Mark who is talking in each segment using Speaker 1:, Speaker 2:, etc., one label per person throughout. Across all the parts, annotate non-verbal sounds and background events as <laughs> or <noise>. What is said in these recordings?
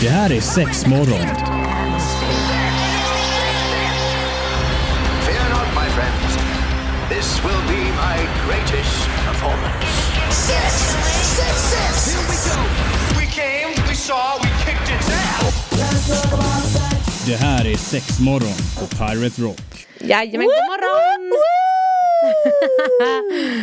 Speaker 1: Det här är sex morgon.
Speaker 2: Fear not, my friends. This will be my greatest performance.
Speaker 3: Six, six, six.
Speaker 2: We came, we saw, we kicked its ass.
Speaker 1: Det här är sex morgon på Pirate Rock.
Speaker 4: Jajamän, god morgon!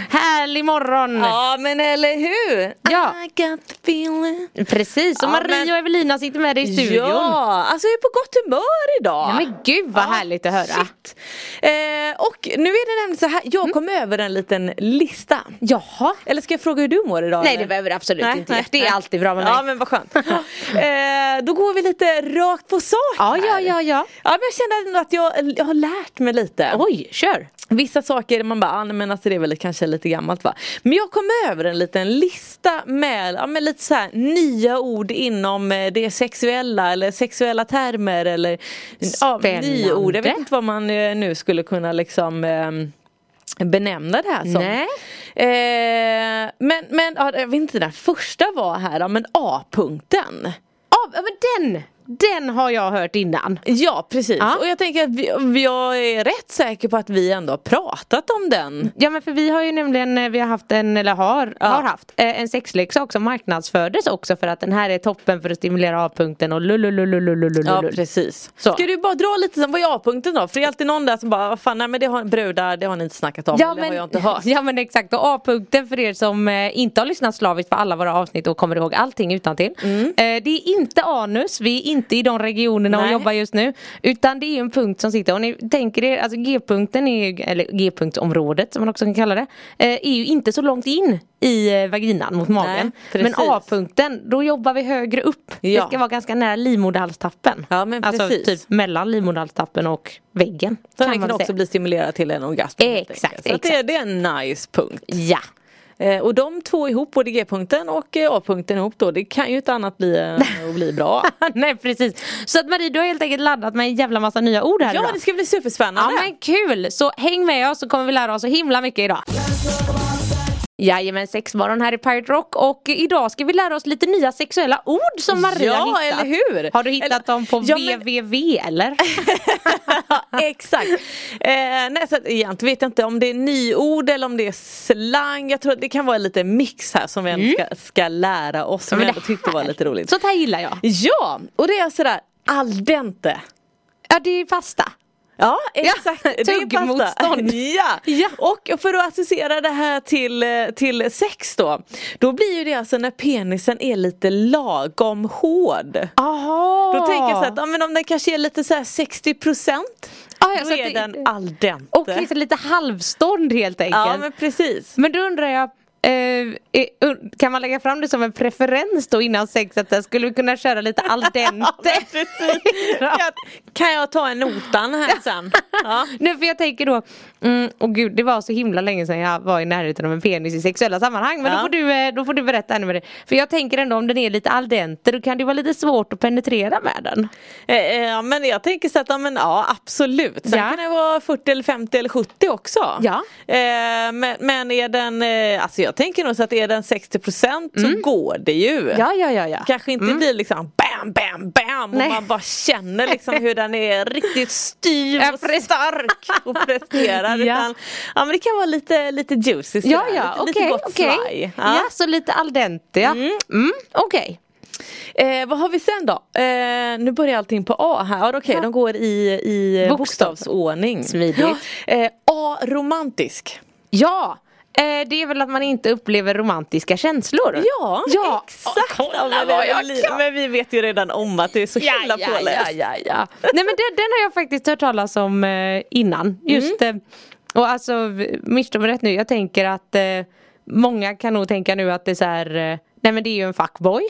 Speaker 4: Härlig morgon!
Speaker 5: Ja men eller hur!
Speaker 4: Ja.
Speaker 5: I got the feeling.
Speaker 4: Precis, och
Speaker 5: Ja,
Speaker 4: Marie
Speaker 5: men-
Speaker 4: och Evelina sitter med dig i studion.
Speaker 5: Ja, alltså jag är på gott humör idag.
Speaker 4: Ja, men gud vad
Speaker 5: Ja,
Speaker 4: härligt att höra. Mm.
Speaker 5: Shit. Eh, och nu är det nämligen så här, jag kom över en liten lista.
Speaker 4: Jaha.
Speaker 5: Eller ska jag fråga hur du mår idag?
Speaker 4: Nej
Speaker 5: eller?
Speaker 4: det behöver du absolut
Speaker 5: Nej,
Speaker 4: inte.
Speaker 5: nej,
Speaker 4: det är
Speaker 5: nej.
Speaker 4: alltid bra med mig.
Speaker 5: Ja men
Speaker 4: <laughs>
Speaker 5: vad skönt. eh, då går vi lite rakt på sak
Speaker 4: ja, ja,
Speaker 5: här.
Speaker 4: ja, ja.
Speaker 5: Ja men jag känner ändå att jag, jag har lärt mig lite.
Speaker 4: Oj, kör.
Speaker 5: Vissa saker man bara, ah, nej, men alltså det är väl kanske lite gammalt va. Men jag kom över en liten lista med, ja, med lite så här nya ord inom eh, det sexuella eller sexuella termer eller ja,
Speaker 4: Spännande.
Speaker 5: nyord. Jag vet inte vad man eh, nu skulle kunna liksom ehm, benämna det här som.
Speaker 4: Nej.
Speaker 5: Eh, men men ja, jag vet inte, den första var här, ja, men A-punkten.
Speaker 4: Ja, men den, den har jag hört innan.
Speaker 5: Ja precis,
Speaker 4: Ja.
Speaker 5: och jag tänker att vi, jag är rätt säker på att vi ändå har pratat om den.
Speaker 4: Ja men för vi har ju nämligen, eh, vi har haft en, eller har, har haft, eh, en sexleksak som marknadsfördes också för att den här är toppen för att stimulera A-punkten och lulululululululul.
Speaker 5: Ja precis.
Speaker 4: Så.
Speaker 5: Ska du bara dra lite som vad är A-punkten då? För det är alltid någon där som bara, vad fan nej men det har brudar, det har ni inte snackat om. eller har jag
Speaker 4: <laughs>
Speaker 5: inte hört.
Speaker 4: ja men exakt och A-punkten för er som eh, inte har lyssnat slaviskt på alla våra avsnitt och kommer ihåg allting utan till.
Speaker 5: Mm.
Speaker 4: Eh, det är inte anus, vi är inte i de regionerna och
Speaker 5: Nej.
Speaker 4: jobbar just nu. Utan det är ju en punkt som sitter och ni tänker er, alltså G-punkten är ju, eller G-punktsområdet som man också kan kalla det, eh, är ju inte så långt in i eh, vaginan mot magen. men
Speaker 5: precis.
Speaker 4: A-punkten, då jobbar vi högre upp. Det
Speaker 5: Ja.
Speaker 4: ska vara ganska nära livmoderhalstappen.
Speaker 5: Ja, men
Speaker 4: alltså
Speaker 5: precis.
Speaker 4: typ mellan livmoderhalstappen och väggen. kan
Speaker 5: Så den
Speaker 4: man
Speaker 5: kan
Speaker 4: väl
Speaker 5: också
Speaker 4: säga.
Speaker 5: bli stimulerad till en orgasm. helt
Speaker 4: Exakt,
Speaker 5: enkelt. Så att det,
Speaker 4: exakt.
Speaker 5: det är en nice punkt.
Speaker 4: Ja.
Speaker 5: Eh, och de två ihop, både G-punkten och eh, A-punkten ihop då, det kan ju inte annat bli än att
Speaker 4: <laughs>
Speaker 5: bli bra.
Speaker 4: Nej precis. Så att Marie du har helt enkelt laddat med en jävla massa nya ord här
Speaker 5: ja
Speaker 4: idag.
Speaker 5: det ska bli
Speaker 4: Ja
Speaker 5: superspännande.
Speaker 4: men kul! Så häng med oss så kommer vi lära oss så himla mycket idag. Jajamän, sexmorgon här i Pirate Rock och idag ska vi lära oss lite nya sexuella ord som Maria
Speaker 5: Ja,
Speaker 4: hittat.
Speaker 5: eller hur?
Speaker 4: Har du hittat
Speaker 5: Eller-
Speaker 4: dem på
Speaker 5: Ja, men-
Speaker 4: www eller?
Speaker 5: <laughs> Exakt. Eh, nej, så att, egentligen vet jag inte om det är nyord eller om det är slang. Jag tror att det kan vara lite mix här som vi ändå ska, ska lära oss. Som
Speaker 4: Mm. men
Speaker 5: jag
Speaker 4: det
Speaker 5: ändå tyckte var
Speaker 4: här-
Speaker 5: lite roligt.
Speaker 4: Sånt här gillar jag.
Speaker 5: Ja, och det är sådär al dente.
Speaker 4: Ja det är fasta.
Speaker 5: Ja,
Speaker 4: <laughs>
Speaker 5: exakt. Det är
Speaker 4: tuggmotstånd.
Speaker 5: pasta. Ja.
Speaker 4: Ja.
Speaker 5: Och för att associera det här till, eh, till sex då. Då blir ju det alltså när penisen är lite lagom hård.
Speaker 4: Aha.
Speaker 5: Då tänker jag så att ja, men om den kanske är lite så här 60 procent.
Speaker 4: Ah, ja,
Speaker 5: Då
Speaker 4: så att
Speaker 5: är
Speaker 4: det-
Speaker 5: den al dente.
Speaker 4: Och liksom lite halvstånd helt enkelt.
Speaker 5: Ja men
Speaker 4: <laughs>
Speaker 5: precis.
Speaker 4: Men då undrar jag, eh, eh, und- kan man lägga fram det som en preferens då innan sex att där skulle vi kunna köra
Speaker 5: <laughs>
Speaker 4: lite al dente? <laughs>
Speaker 5: Jag, kan jag ta en notan här sen? Ja.
Speaker 4: Nej för jag tänker då, mm, åh gud det var så himla länge sedan jag var i närheten av en penis i sexuella sammanhang men då,
Speaker 5: Ja.
Speaker 4: får du, eh, då får du berätta ännu mer det. För jag tänker ändå om den är lite al dente då kan det vara lite svårt att penetrera med den.
Speaker 5: Eh, eh, ja, men jag tänker så att ja, men, ja absolut. Sen
Speaker 4: Ja.
Speaker 5: kan det vara 40 eller 50 eller 70 också.
Speaker 4: Ja.
Speaker 5: Eh, men, men är den, eh, alltså jag tänker nog så att är den 60 procent så går det ju.
Speaker 4: Mm. ja ja ja.
Speaker 5: Kanske inte blir liksom bam bam bam
Speaker 4: Nej.
Speaker 5: och man bara
Speaker 4: <laughs>
Speaker 5: känner liksom hur den är riktigt styv
Speaker 4: Ja,
Speaker 5: och
Speaker 4: precis.
Speaker 5: stark och
Speaker 4: <laughs>
Speaker 5: presterar.
Speaker 4: Ja.
Speaker 5: ja. Utan, ja men det kan vara lite, lite juicy sådär.
Speaker 4: Ja ja
Speaker 5: lite, lite
Speaker 4: okej
Speaker 5: gott
Speaker 4: okej.
Speaker 5: svaj.
Speaker 4: Ja. så lite al dente ja. Mm. okej.
Speaker 5: Eh, vad har vi sen då? Eh, nu börjar allting på A här. Ja, Okej, de går i, i
Speaker 4: Bokstav.
Speaker 5: bokstavsordning.
Speaker 4: Smidigt.
Speaker 5: Ja. Eh, A. Romantisk.
Speaker 4: Ja! Eh, det är väl att man inte upplever romantiska känslor?
Speaker 5: Ja,
Speaker 4: Ja,
Speaker 5: exakt.
Speaker 4: kolla
Speaker 5: Ja, men,
Speaker 4: vad jag
Speaker 5: li-
Speaker 4: kan.
Speaker 5: men vi vet ju redan om att det är så himla påläst.
Speaker 4: ja, ja. Nej men den, den har jag faktiskt hört talas om eh, innan. Just, eh, och alltså, v- missförstå mig rätt nu, jag tänker att eh, många kan nog tänka nu att det är så här, eh, nej men det är ju en fuckboy.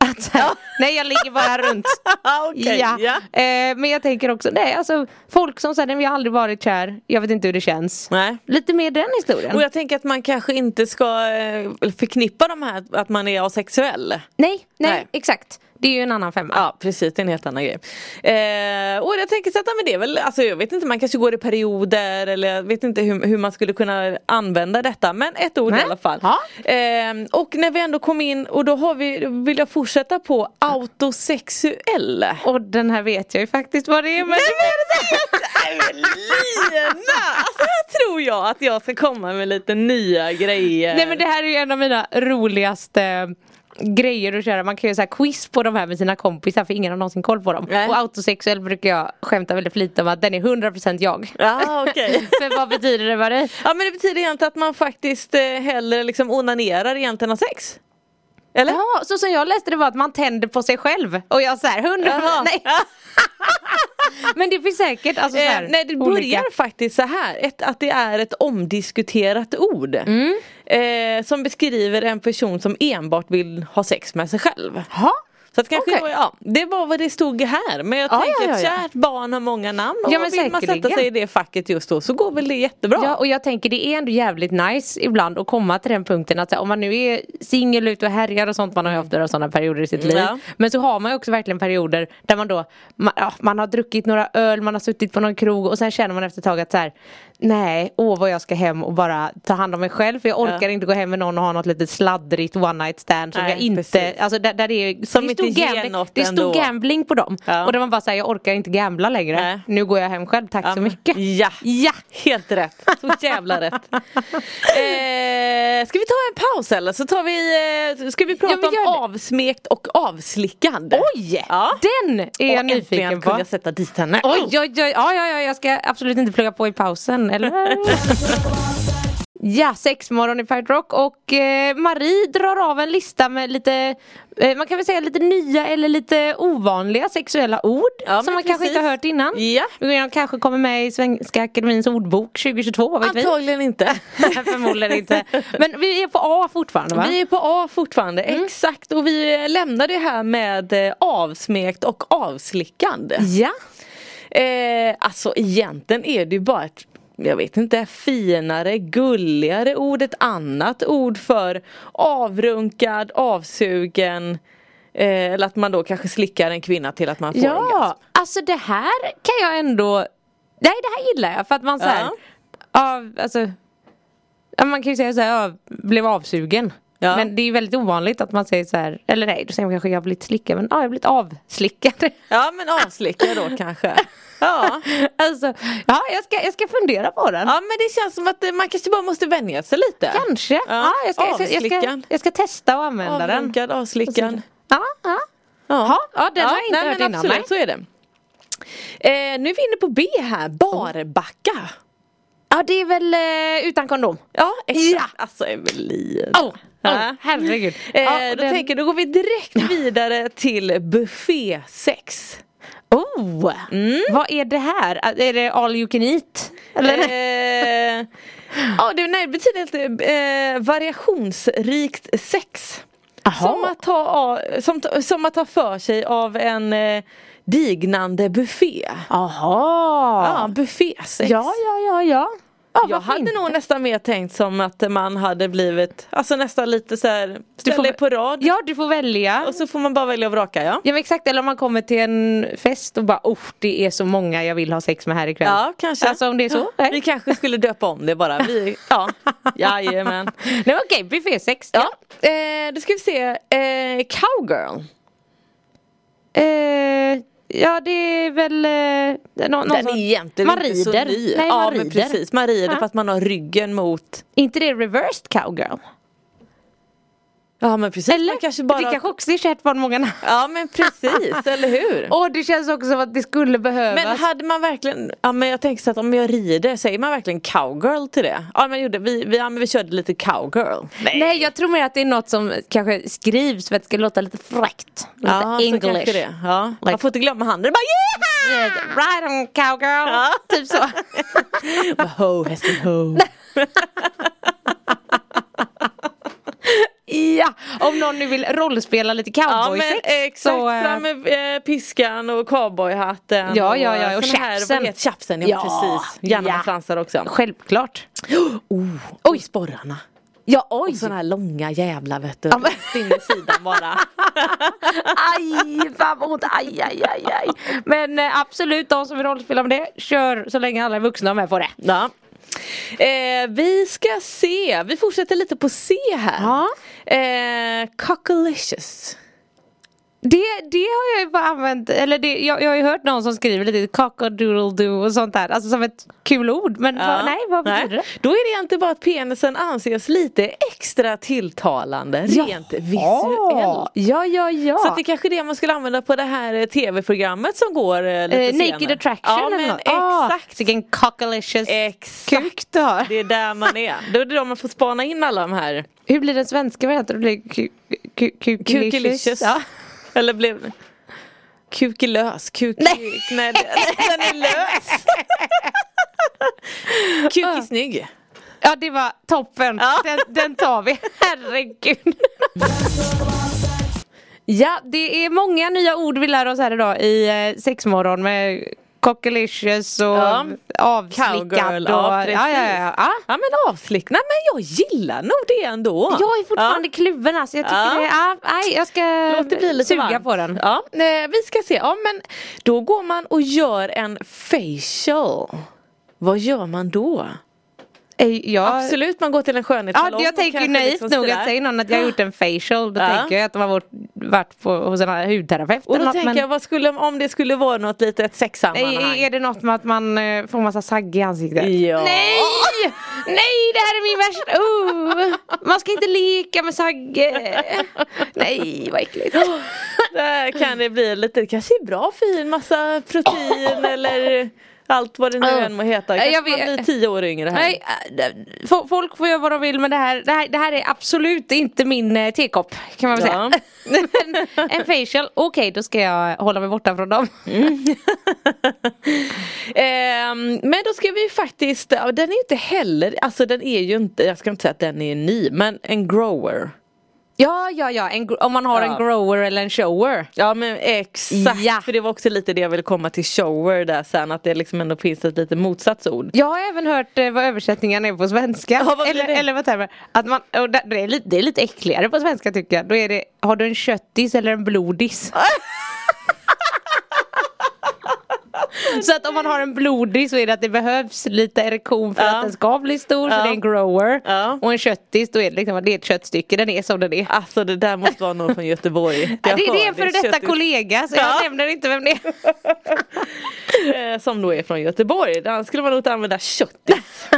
Speaker 4: Att, så här, <laughs> nej jag ligger bara <laughs> runt.
Speaker 5: Ja, <laughs> okej,
Speaker 4: ja.
Speaker 5: ja.
Speaker 4: Eh, men jag tänker också, nej alltså folk som säger, nej men jag har aldrig varit kär, jag vet inte hur det känns.
Speaker 5: Nej.
Speaker 4: Lite mer den historien.
Speaker 5: Och jag tänker att man kanske inte ska eh, förknippa de här att man är asexuell.
Speaker 4: Nej, nej,
Speaker 5: Nej.
Speaker 4: exakt. det är ju en annan femma.
Speaker 5: Ja precis, det är en helt annan grej. Eh, och jag tänker så att ja, men det är väl, alltså, jag vet inte, man kanske går i perioder eller jag vet inte hur, hur man skulle kunna använda detta. Men ett ord
Speaker 4: Nej.
Speaker 5: i alla fall.
Speaker 4: Ja.
Speaker 5: Eh, och när vi ändå kom in och då har vi, vill jag fortsätta på autosexuell.
Speaker 4: Och den här vet jag ju faktiskt vad det är. Men...
Speaker 5: Nej, men Nej, men Lina! Alltså här tror jag att jag ska komma med lite nya grejer.
Speaker 4: Nej men det här är ju en av mina roligaste eh, grejer att köra. Man kan ju så här quiz på de här med sina kompisar för ingen har någonsin koll på dem.
Speaker 5: Nej.
Speaker 4: Och autosexuell brukar jag skämta väldigt flitigt om att den är 100% jag.
Speaker 5: Ja, okej.
Speaker 4: <laughs> för vad betyder det Marie?
Speaker 5: <laughs> Ja men det betyder egentligen att man faktiskt eh, hellre liksom onanerar egentligen än har sex. Eller?
Speaker 4: Ja, så som jag läste det var att man tänder på sig själv och jag såhär 100%
Speaker 5: Jaha.
Speaker 4: nej. Men det finns säkert alltså så här,
Speaker 5: Eh, nej det börjar
Speaker 4: olika-
Speaker 5: faktiskt så här, ett, att det är ett omdiskuterat ord.
Speaker 4: Mm.
Speaker 5: Eh, som beskriver en person som enbart vill ha sex med sig själv.
Speaker 4: Jaha.
Speaker 5: Så att kanske
Speaker 4: Okej.
Speaker 5: det, var, ja, det var vad det stod här men jag
Speaker 4: Ja,
Speaker 5: tänker
Speaker 4: ja, ja,
Speaker 5: att
Speaker 4: ja.
Speaker 5: kärt barn har många namn och
Speaker 4: Ja, men
Speaker 5: vill man sätta
Speaker 4: säkerligen.
Speaker 5: sig i det facket just då så går väl det jättebra.
Speaker 4: Ja och jag tänker det är ändå jävligt nice ibland att komma till den punkten att så här, om man nu är singel ute och härjar och sånt man har ju haft sådana perioder i sitt liv.
Speaker 5: Mm. Ja.
Speaker 4: Men så har man ju också verkligen perioder där man då man, ja, man har druckit några öl, man har suttit på någon krog och sen känner man efter ett tag att så här, nej åh vad jag ska hem och bara ta hand om mig själv för jag orkar
Speaker 5: Ja.
Speaker 4: inte gå hem med någon och ha något litet sladdrigt one night stand som
Speaker 5: Nej,
Speaker 4: jag inte,
Speaker 5: precis.
Speaker 4: alltså där, där det är
Speaker 5: Som
Speaker 4: det
Speaker 5: inte
Speaker 4: stod
Speaker 5: ger
Speaker 4: gambling,
Speaker 5: något
Speaker 4: Det stod
Speaker 5: ändå.
Speaker 4: gambling på dem
Speaker 5: Ja.
Speaker 4: och då man bara säger jag orkar inte gambla längre,
Speaker 5: Nej.
Speaker 4: nu går jag hem själv, tack
Speaker 5: Ja,
Speaker 4: så
Speaker 5: men-
Speaker 4: mycket.
Speaker 5: Ja.
Speaker 4: Ja!
Speaker 5: Helt rätt, så
Speaker 4: <laughs>
Speaker 5: jävla rätt. Eh, ska vi ta en paus eller så tar vi, eh, ska vi prata
Speaker 4: Ja, men gör
Speaker 5: om
Speaker 4: det.
Speaker 5: avsmekt och avslickande.
Speaker 4: Oj!
Speaker 5: Ja.
Speaker 4: Den är jag
Speaker 5: och äntligen
Speaker 4: nyfiken på.
Speaker 5: kunde jag sätta dit henne.
Speaker 4: Oj, oj, oj, ja, ja, ja, jag ska absolut inte plugga på i pausen, eller? <laughs> ja, sexmorgon i Pirate Rock och eh, Marie drar av en lista med lite, eh, man kan väl säga lite nya eller lite ovanliga sexuella ord
Speaker 5: Ja,
Speaker 4: som
Speaker 5: men
Speaker 4: man kanske
Speaker 5: precis.
Speaker 4: inte har hört innan.
Speaker 5: Ja.
Speaker 4: De kanske kommer med i Svenska Akademins ordbok 2022, vad vet vi? <laughs>
Speaker 5: Antagligen inte.
Speaker 4: Förmodligen inte. Men vi är på A fortfarande va? Mm.
Speaker 5: Vi är på A fortfarande, exakt. Och vi eh, lämnar det här med eh, avsmekt och avslickande.
Speaker 4: Ja.
Speaker 5: Eh, alltså egentligen är det ju bara ett jag vet inte, finare, gulligare ord, ett annat ord för avrunkad, avsugen eh, eller att man då kanske slickar en kvinna till att man får orgasm.
Speaker 4: Ja, alltså det här kan jag ändå Nej det här gillar jag för att man såhär
Speaker 5: Ja.
Speaker 4: ja. alltså ja, Man kan ju säga såhär, jag blev avsugen
Speaker 5: Ja.
Speaker 4: Men det är ju väldigt ovanligt att man säger så här, eller nej då säger man kanske jag har blivit slickad men ja jag har blivit avslickad
Speaker 5: Ja men avslickar
Speaker 4: <laughs>
Speaker 5: då kanske. Ja.
Speaker 4: Alltså, ja jag ska, jag ska fundera på den
Speaker 5: ja men det känns som att eh, man kanske bara måste vänja sig lite.
Speaker 4: Kanske, ja, jag, ska, jag, ska, jag, ska,
Speaker 5: avslickad.
Speaker 4: jag ska testa och använda den
Speaker 5: Avrunkad, avslickad.
Speaker 4: Ja, ja
Speaker 5: Ja,
Speaker 4: ja, den har jag inte
Speaker 5: nej,
Speaker 4: hört
Speaker 5: men
Speaker 4: innan,
Speaker 5: Absolut, så är det. Eh, nu är vi inne på B här, barbacka.
Speaker 4: Ja det är väl eh, utan kondom
Speaker 5: Ja,
Speaker 4: exakt.
Speaker 5: Alltså Evelina.
Speaker 4: Åh, oh,
Speaker 5: Ja.
Speaker 4: herregud
Speaker 5: Eh,
Speaker 4: Ja,
Speaker 5: då,
Speaker 4: den-
Speaker 5: tänker, jag, då går vi direkt vidare till buffésex.
Speaker 4: Oh! Vad är det här? Är det all you can eat?
Speaker 5: Eh,
Speaker 4: Eller?
Speaker 5: ja, det, nej, det betyder helt, eh, variationsrikt sex. Som att, ta, av- som, ta- som att ta för sig av en eh, dignande buffé. Ja,
Speaker 4: Aha.
Speaker 5: buffésex.
Speaker 4: Ja, ja, ja, ja.
Speaker 5: jag hade nog nästan mer tänkt som att man hade blivit, alltså nästan lite så här, ställ
Speaker 4: får-
Speaker 5: dig på rad
Speaker 4: Ja, du får välja.
Speaker 5: och så får man bara välja och vraka ja.
Speaker 4: Ja men exakt, eller om man kommer till en fest och bara oh det är så många jag vill ha sex med här ikväll.
Speaker 5: Ja kanske.
Speaker 4: Alltså om det är så?
Speaker 5: Ja,
Speaker 4: Nej.
Speaker 5: Vi kanske skulle döpa om det bara.
Speaker 4: <laughs>
Speaker 5: Vi, ja. Jajamän.
Speaker 4: Nej men okej, buffésex.
Speaker 5: Ja. Eh, då ska vi se, eh, cowgirl.
Speaker 4: Ja. Eh, ja det är väl eh, nå- någon
Speaker 5: Den är
Speaker 4: som-
Speaker 5: egentligen
Speaker 4: Man
Speaker 5: inte så
Speaker 4: rider.
Speaker 5: ny.
Speaker 4: Nej,
Speaker 5: ja
Speaker 4: man
Speaker 5: men
Speaker 4: rider.
Speaker 5: precis, man rider
Speaker 4: Ja.
Speaker 5: fast man har ryggen mot
Speaker 4: inte det reversed cowgirl?
Speaker 5: Ja men precis,
Speaker 4: Eller?
Speaker 5: man kanske bara
Speaker 4: Det kanske också är kärt barn många namn.
Speaker 5: Ja men precis,
Speaker 4: <laughs>
Speaker 5: eller hur?
Speaker 4: Åh det känns också som att det skulle behövas.
Speaker 5: Men hade man verkligen, ja men jag tänker så att om jag rider, säger man verkligen cowgirl till det? Ja men gjorde, vi, vi, ja, men vi körde lite cowgirl.
Speaker 4: Nej jag tror mer att det är något som kanske skrivs för att det ska låta lite fräckt. Lite
Speaker 5: ja, så
Speaker 4: English.
Speaker 5: kanske det. Ja.
Speaker 4: Like-
Speaker 5: Man får inte glömma
Speaker 4: <laughs>
Speaker 5: handen, bara yeah!
Speaker 4: Right on cowgirl.
Speaker 5: Ja.
Speaker 4: Typ så.
Speaker 5: Bara, ho hästen ho.
Speaker 4: ja, om någon nu vill rollspela lite
Speaker 5: Ja men
Speaker 4: cowboysex.
Speaker 5: exakt,
Speaker 4: så, eh,
Speaker 5: fram med eh, piskan och cowboyhatten.
Speaker 4: Ja, ja, ja, och
Speaker 5: sån här,
Speaker 4: chapsen.
Speaker 5: vad heter- Chapsen, ja,
Speaker 4: Ja,
Speaker 5: precis. Gärna
Speaker 4: ja.
Speaker 5: med fransar också.
Speaker 4: Självklart.
Speaker 5: Oj, sporrarna. Ja oj! Och sådana här långa jävla vet du.
Speaker 4: men-
Speaker 5: Rätt in i sidan bara.
Speaker 4: Aj, fan vad ont, aj, aj, aj, aj. Men eh, absolut, de som vill rollspela med det, kör så länge alla är vuxna och med på det.
Speaker 5: <laughs> Ja. Eh, vi ska se, vi fortsätter lite på C här.
Speaker 4: Ja.
Speaker 5: Eh, cockalicious.
Speaker 4: Det, det har jag ju bara använt, eller det, jag, jag har ju hört någon som skriver lite cockadoodle-doo och sånt där, alltså som ett kul ord, men vad, nej vad betyder det?
Speaker 5: Då är det egentligen bara att penisen anses lite extra tilltalande rent visuellt.
Speaker 4: Ah, Ja, ja, ja.
Speaker 5: Så att det kanske är det man skulle använda på det här eh, tv-programmet som går eh, lite
Speaker 4: Eh,
Speaker 5: senare.
Speaker 4: naked attraction
Speaker 5: ja,
Speaker 4: eller
Speaker 5: men
Speaker 4: något. Ah,
Speaker 5: Exakt.
Speaker 4: Vilken cockalicious
Speaker 5: Exakt.
Speaker 4: kuk du har.
Speaker 5: Det är där man är. Då är det då man får spana in alla de här
Speaker 4: Hur blir den svenska varianten? Det blir ku- ku- kukelicious.
Speaker 5: kukelicious.
Speaker 4: Ja.
Speaker 5: Eller blev Kukelös. Kuk...
Speaker 4: <laughs>
Speaker 5: Nej. Nej, det- den är lös. Kuk är snygg.
Speaker 4: ja, det var toppen.
Speaker 5: Ja.
Speaker 4: Den, den tar
Speaker 5: <laughs>
Speaker 4: vi. Herregud. ja, det är många nya ord vi lär oss här idag i eh, sexmorgon med cockalicious och
Speaker 5: Ja.
Speaker 4: avslickad.
Speaker 5: Cowgirl,
Speaker 4: och,
Speaker 5: ja, precis.
Speaker 4: ja, ja, Ah. ja. ja.
Speaker 5: Ja men avslick. Nej men jag gillar nog det ändå.
Speaker 4: Jag är fortfarande kluven alltså. Jag tycker
Speaker 5: Ja.
Speaker 4: det är, ah, nej, jag ska
Speaker 5: Låt det bli lite
Speaker 4: suga
Speaker 5: varmt.
Speaker 4: på den.
Speaker 5: Ja, eh, vi ska se. Ja, men då går man och gör en facial. Vad gör man då?
Speaker 4: Eh, Jag,
Speaker 5: Absolut, man går till en
Speaker 4: Ja,
Speaker 5: skönhetssalong.
Speaker 4: jag
Speaker 5: och
Speaker 4: tänker ju
Speaker 5: kanske
Speaker 4: naivt
Speaker 5: liksom
Speaker 4: nog
Speaker 5: sådär.
Speaker 4: att säger någon att jag har gjort en facial då
Speaker 5: Ja.
Speaker 4: tänker jag att de har varit, varit på, hos en hudterapeut
Speaker 5: Och
Speaker 4: eller
Speaker 5: då
Speaker 4: något,
Speaker 5: tänker
Speaker 4: men,
Speaker 5: jag, vad skulle, om det skulle vara något litet
Speaker 4: är,
Speaker 5: sexsammanhang?
Speaker 4: är det något med att man eh, får massa sagg i ansiktet?
Speaker 5: Ja.
Speaker 4: Nej! Nej, det här är min värsta... Oh. Man ska inte leka med sagg. eh. Nej, vad äckligt.
Speaker 5: Där kan <laughs> det bli lite, det kanske är bra för en massa
Speaker 4: <laughs>
Speaker 5: protein eller allt vad det nu
Speaker 4: Ja.
Speaker 5: än må heta.
Speaker 4: Jag
Speaker 5: Kanske
Speaker 4: vet-
Speaker 5: man blir tio år yngre här.
Speaker 4: Nej, eh, f- folk får göra vad de vill men det här, det här, det här är absolut inte min eh, tekopp kan man väl
Speaker 5: Ja.
Speaker 4: säga. <laughs> en, en facial, okej då ska jag hålla mig borta från dem.
Speaker 5: Ehm, men då ska vi faktiskt, ja, den är ju inte heller, alltså den är ju inte, jag ska inte säga att den är ny, men en grower.
Speaker 4: Ja, ja, ja. En, gro- om man har
Speaker 5: Ja.
Speaker 4: en grower eller en shower.
Speaker 5: Ja men exakt,
Speaker 4: Ja.
Speaker 5: för det var också lite det jag ville komma till shower där sen, att det liksom ändå finns ett lite motsatsord.
Speaker 4: Jag har även hört eh, vad översättningen är på svenska.
Speaker 5: Ja, vad blir
Speaker 4: eller,
Speaker 5: det?
Speaker 4: eller vad termer. Att man, och det, det, är lite, det är lite äckligare på svenska tycker jag. Då är det, har du en köttis eller en
Speaker 5: <laughs>
Speaker 4: blodis? så att om man har en blodig så är det att det behövs lite erektion för
Speaker 5: Ja.
Speaker 4: att den ska bli stor. Så
Speaker 5: Ja.
Speaker 4: det är en grower.
Speaker 5: Ja.
Speaker 4: Och en köttis då är det liksom, det är ett köttstycke, den är som den är.
Speaker 5: Alltså det där måste vara någon från Göteborg.
Speaker 4: <laughs> Ja, det, det är
Speaker 5: hör
Speaker 4: en före detta
Speaker 5: köttet-
Speaker 4: kollega så jag
Speaker 5: Ja.
Speaker 4: nämner inte vem det är.
Speaker 5: Eh, Som då är från Göteborg, där skulle man nog inte använda köttis.
Speaker 4: <laughs>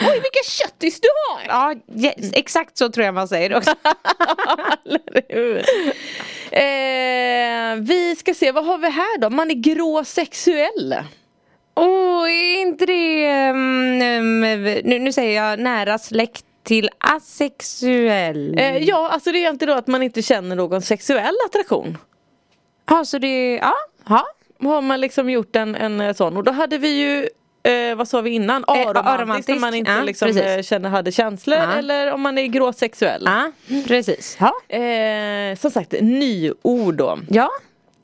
Speaker 5: Oj vilken köttis du har!
Speaker 4: Ja, yes, exakt så tror jag man säger <laughs> också.
Speaker 5: <laughs> Eller hur? Eh, vi ska se, vad har vi här då? Man är gråsexuell.
Speaker 4: Åh, är inte det... ehm, ehm, nu, nu säger jag nära släkt till asexuell.
Speaker 5: Eh, ja, alltså det är inte då att man inte känner någon sexuell attraktion.
Speaker 4: Ja, så det... Ja.
Speaker 5: Ja. Har man liksom gjort en, en eh, sån. Och då hade vi ju Eh, vad sa vi innan? Aromantisk,
Speaker 4: aromantisk.
Speaker 5: när man inte
Speaker 4: Ja,
Speaker 5: liksom,
Speaker 4: precis.
Speaker 5: eh, känner, hade känslor
Speaker 4: Ja.
Speaker 5: eller om man är gråsexuell.
Speaker 4: Ja, precis. Ja.
Speaker 5: Eh, som sagt, nyord då.
Speaker 4: ja.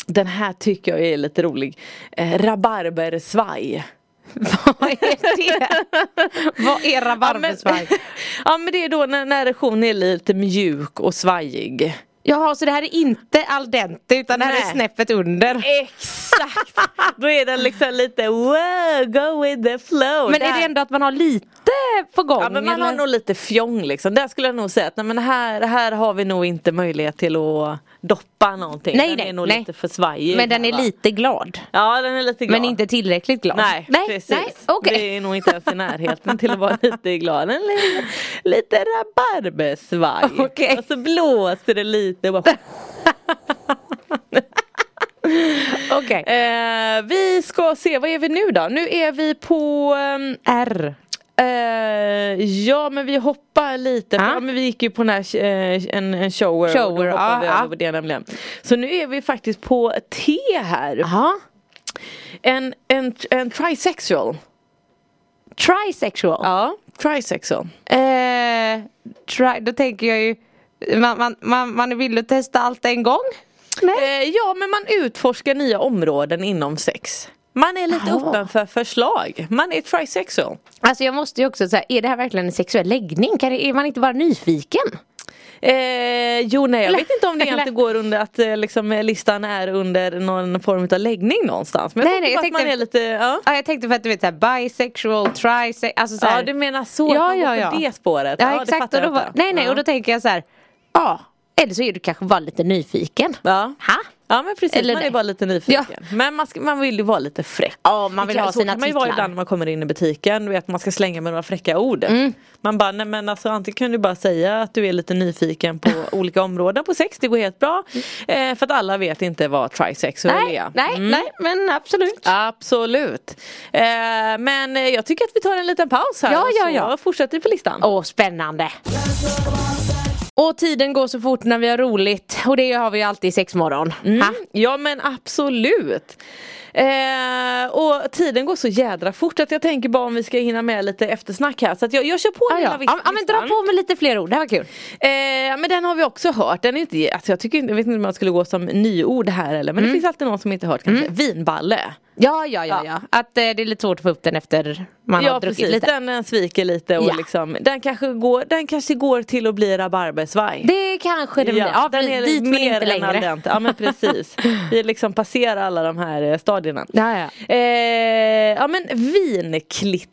Speaker 5: Den här tycker jag är lite rolig. Eh, rabarbersvaj.
Speaker 4: <laughs> Vad är det? Vad är rabarbersvaj?
Speaker 5: Ja, men- <laughs> ja men det är då när, när erektionen är lite mjuk och svajig.
Speaker 4: <laughs> Jaha, så det här är inte al dente utan det här är
Speaker 5: Nej.
Speaker 4: snäppet under.
Speaker 5: Exakt! <laughs> då är den liksom lite wow, go with the flow.
Speaker 4: Men är det ändå att man har lite på gång?
Speaker 5: Ja men man har
Speaker 4: eller?
Speaker 5: nog lite fjong liksom. Där skulle jag nog säga att nej, men här, här har vi nog inte möjlighet till att doppa någonting.
Speaker 4: Nej,
Speaker 5: den
Speaker 4: nej,
Speaker 5: är nog
Speaker 4: nej.
Speaker 5: lite för svajig.
Speaker 4: men den
Speaker 5: här,
Speaker 4: är
Speaker 5: va?
Speaker 4: lite glad.
Speaker 5: Ja den är lite glad.
Speaker 4: Men inte tillräckligt glad.
Speaker 5: Nej,
Speaker 4: nej
Speaker 5: precis.
Speaker 4: nej, okej.
Speaker 5: Det är nog inte ens i närheten till
Speaker 4: <laughs>
Speaker 5: att vara lite glad. En lite, lite rabarbersvaj.
Speaker 4: Okej.
Speaker 5: Och så blåser det lite. Och bara...
Speaker 4: <laughs> Okej.
Speaker 5: eh, vi ska se, vad är vi nu då? Nu är vi på ehm,
Speaker 4: R.
Speaker 5: Eh, ja men vi hoppar lite,
Speaker 4: Ja.
Speaker 5: ja. men vi gick ju på den här, eh, en, en shower, och
Speaker 4: Shower,
Speaker 5: då hoppade
Speaker 4: ja,
Speaker 5: vi
Speaker 4: ja.
Speaker 5: över det nämligen. Så nu är vi faktiskt på T här.
Speaker 4: Jaha.
Speaker 5: En, en, en trisexual.
Speaker 4: Trisexual.
Speaker 5: Ja, trisexual.
Speaker 4: Eh, try, då tänker jag ju, man, man, man, man är villig att testa allt en gång. Nej.
Speaker 5: Eh, ja men man utforskar nya områden inom sex. Man är lite
Speaker 4: Jaha.
Speaker 5: öppen för förslag. Man är trisexual.
Speaker 4: Alltså jag måste ju också säga, är det här verkligen en sexuell läggning? Kan det, är man inte bara nyfiken?
Speaker 5: Eh, jo nej jag
Speaker 4: Eller-
Speaker 5: vet inte om det
Speaker 4: eller-
Speaker 5: egentligen går under att eh, liksom, eh, listan är under någon form av läggning någonstans. Men
Speaker 4: Nej,
Speaker 5: jag tänker
Speaker 4: nej, jag
Speaker 5: bara att man
Speaker 4: tänkte-
Speaker 5: är lite, ja.
Speaker 4: Ja, jag tänkte för att du vet såhär bisexual, trisexual, alltså så här-
Speaker 5: ja du menar så,
Speaker 4: Ja,
Speaker 5: att man
Speaker 4: ja,
Speaker 5: går på
Speaker 4: ja.
Speaker 5: det spåret.
Speaker 4: Ja,
Speaker 5: det
Speaker 4: exakt,
Speaker 5: fattar
Speaker 4: och då
Speaker 5: jag
Speaker 4: var,
Speaker 5: inte.
Speaker 4: nej nej
Speaker 5: ja.
Speaker 4: och då tänker jag så här. ja eller så är du kanske bara lite nyfiken.
Speaker 5: Ja.
Speaker 4: Ha?
Speaker 5: Ja men precis,
Speaker 4: Eller
Speaker 5: man är
Speaker 4: nej.
Speaker 5: bara lite nyfiken.
Speaker 4: Ja.
Speaker 5: Men man, ska, man vill ju vara lite fräck.
Speaker 4: Ja, man vill
Speaker 5: Det kan-
Speaker 4: ha
Speaker 5: så
Speaker 4: sina
Speaker 5: kan man ju vara
Speaker 4: titlar.
Speaker 5: ibland när man kommer in i butiken, du vet man ska slänga med några fräcka ord.
Speaker 4: Mm.
Speaker 5: Man bara, nej men alltså antingen kan du bara säga att du är lite
Speaker 4: <laughs>
Speaker 5: nyfiken på olika områden på sex, det går helt bra. Eh, för att alla vet inte vad trisexual
Speaker 4: Nej,
Speaker 5: är.
Speaker 4: nej,
Speaker 5: Mm.
Speaker 4: nej men absolut.
Speaker 5: Absolut. Eh, men eh, jag tycker att vi tar en liten paus här
Speaker 4: Ja,
Speaker 5: och
Speaker 4: ja,
Speaker 5: så
Speaker 4: ja. Oh.
Speaker 5: fortsätter vi på listan.
Speaker 4: Åh, spännande! Och tiden går så fort när vi har roligt och det har vi ju alltid i sexmorgon. Ha?
Speaker 5: Mm. Ja men absolut. Eh, och tiden går så jädra fort att jag tänker bara om vi ska hinna med lite eftersnack här. Så att jag, jag kör på
Speaker 4: Ja,
Speaker 5: den
Speaker 4: ja.
Speaker 5: lilla
Speaker 4: Ja,
Speaker 5: vis-
Speaker 4: ja, men dra
Speaker 5: listan.
Speaker 4: på med lite fler ord, det här var kul.
Speaker 5: Eh, men den har vi också hört. Den är inte, alltså jag, tycker, inte- jag vet inte om man skulle gå som nyord här eller.
Speaker 4: Mm.
Speaker 5: Men det finns alltid någon som inte hört kanske. Vinballe.
Speaker 4: Ja, ja, ja,
Speaker 5: Ja.
Speaker 4: ja. Att eh, det är lite svårt att få upp den efter man har
Speaker 5: ja
Speaker 4: druckit
Speaker 5: precis,
Speaker 4: lite.
Speaker 5: Den, den sviker lite. Och
Speaker 4: Ja.
Speaker 5: liksom, den, kanske går, den kanske går till att bli rabarbersvaj.
Speaker 4: Det kanske det blir. Ja,
Speaker 5: den
Speaker 4: precis.
Speaker 5: är liksom
Speaker 4: dit men
Speaker 5: mer
Speaker 4: inte
Speaker 5: än al
Speaker 4: längre.
Speaker 5: dente. Ja
Speaker 4: <laughs>
Speaker 5: men precis. Vi liksom passerar alla de här eh, stadierna.
Speaker 4: Ja, ja.
Speaker 5: Eh, ja men vinklitta.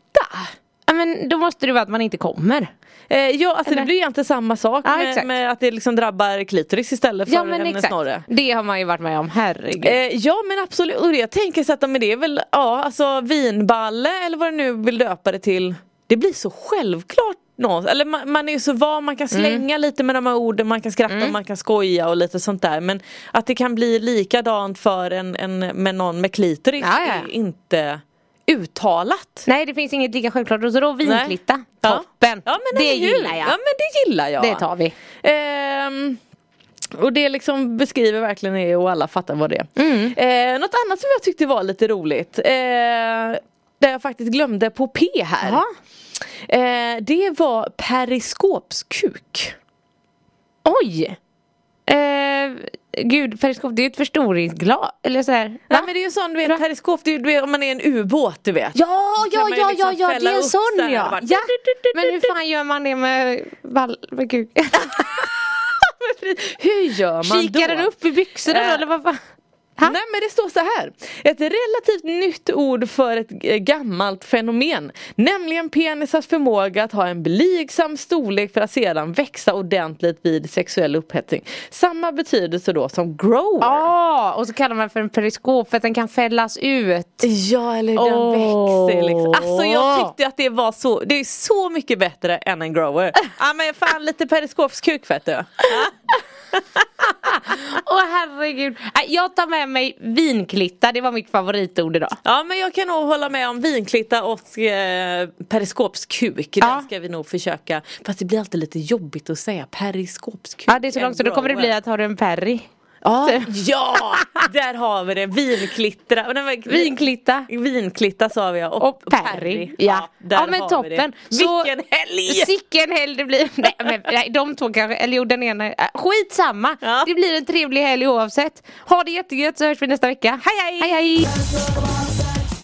Speaker 4: Ja, men då måste det vara att man inte kommer.
Speaker 5: Eh, ja alltså
Speaker 4: Eller?
Speaker 5: det blir ju inte samma sak
Speaker 4: Ja,
Speaker 5: med,
Speaker 4: exakt.
Speaker 5: med att det liksom drabbar klitoris istället för
Speaker 4: Ja, men
Speaker 5: en
Speaker 4: exakt.
Speaker 5: snorre.
Speaker 4: Det har man ju varit med om, herregud.
Speaker 5: Eh, ja men absolut, och jag tänker så att men det är väl, ja alltså vinballe eller vad du nu vill döpa det till. Det blir så självklart någonstans. Eller man, man är ju så van, man
Speaker 4: Mm.
Speaker 5: kan slänga lite med de här orden, man kan skratta och man kan skoja och lite sånt där. Men att det kan bli likadant för en, en med någon med klitoris
Speaker 4: Ja, ja.
Speaker 5: är inte uttalat.
Speaker 4: Nej, det finns inget lika självklart. Och så då vinklitta.
Speaker 5: Ja.
Speaker 4: Toppen.
Speaker 5: Ja, men
Speaker 4: det
Speaker 5: eller hur?
Speaker 4: gillar jag.
Speaker 5: Ja men det gillar jag.
Speaker 4: Det tar vi.
Speaker 5: Ehm, och det liksom beskriver verkligen det och alla fattar vad det är.
Speaker 4: Mm.
Speaker 5: Ehm, något annat som jag tyckte var lite roligt. Eh, där jag faktiskt glömde på P här.
Speaker 4: Ja.
Speaker 5: Ehm, det var periskopskuk.
Speaker 4: Oj! Eh, gud, periskop, det är ju ett förstoringsglas. Eller så här.
Speaker 5: Nej
Speaker 4: va?
Speaker 5: men det är ju sån, du vet periskop, det är, ju- du vet, om man är en ubåt du vet.
Speaker 4: Ja,
Speaker 5: kan
Speaker 4: ja,
Speaker 5: man ju
Speaker 4: ja,
Speaker 5: liksom
Speaker 4: ja, ja, det
Speaker 5: fälla
Speaker 4: är en
Speaker 5: upp så här
Speaker 4: sån
Speaker 5: och bara-
Speaker 4: ja. ja. Men hur fan gör man det med, val- med kuk?
Speaker 5: <laughs> Hur gör
Speaker 4: <laughs>
Speaker 5: man
Speaker 4: Kikar
Speaker 5: då?
Speaker 4: den upp i byxorna
Speaker 5: Eh,
Speaker 4: då, eller vad fan? Ha?
Speaker 5: Nej men det står så här. Ett relativt nytt ord för ett eh, gammalt fenomen. Nämligen penisars förmåga att ha en blygsam storlek för att sedan växa ordentligt vid sexuell upphetsning. Samma betydelse då som grower.
Speaker 4: Ja, och så kallar man för en periskop för att den kan fällas ut.
Speaker 5: Ja eller den
Speaker 4: Åh.
Speaker 5: växer liksom. Alltså jag tyckte att det var så, det är så mycket bättre än en <laughs> grower. Ja men fan lite periskopskuk vet du.
Speaker 4: Åh herregud. Nej, Jag tar med mig vinklitta, det var mitt favoritord idag.
Speaker 5: Ja men jag kan nog hålla med om vinklitta och eh, periskopskuk. Den
Speaker 4: Ja.
Speaker 5: ska vi nog försöka. Fast det blir alltid lite jobbigt att säga periskopskuk.
Speaker 4: Ja, det är så långt så då kommer det bli
Speaker 5: grower.
Speaker 4: att har du en perry?
Speaker 5: Ja, ja där har vi det. Vinklittra. Och den var-
Speaker 4: Vinklitta.
Speaker 5: Vinklitta sa vi ja.
Speaker 4: Och Perry. Ja,
Speaker 5: där
Speaker 4: ja men
Speaker 5: har vi det.
Speaker 4: toppen. Så-
Speaker 5: Vilken helg!
Speaker 4: Sicken helg det
Speaker 5: <laughs>
Speaker 4: blir. Nej, men, nej, de två kanske, eller jo den ena. Äh, Skitsamma.
Speaker 5: Ja.
Speaker 4: Det blir en trevlig helg oavsett. Ha det jättegött så hörs vi nästa vecka.
Speaker 5: Hej, hej!
Speaker 4: hej, hej.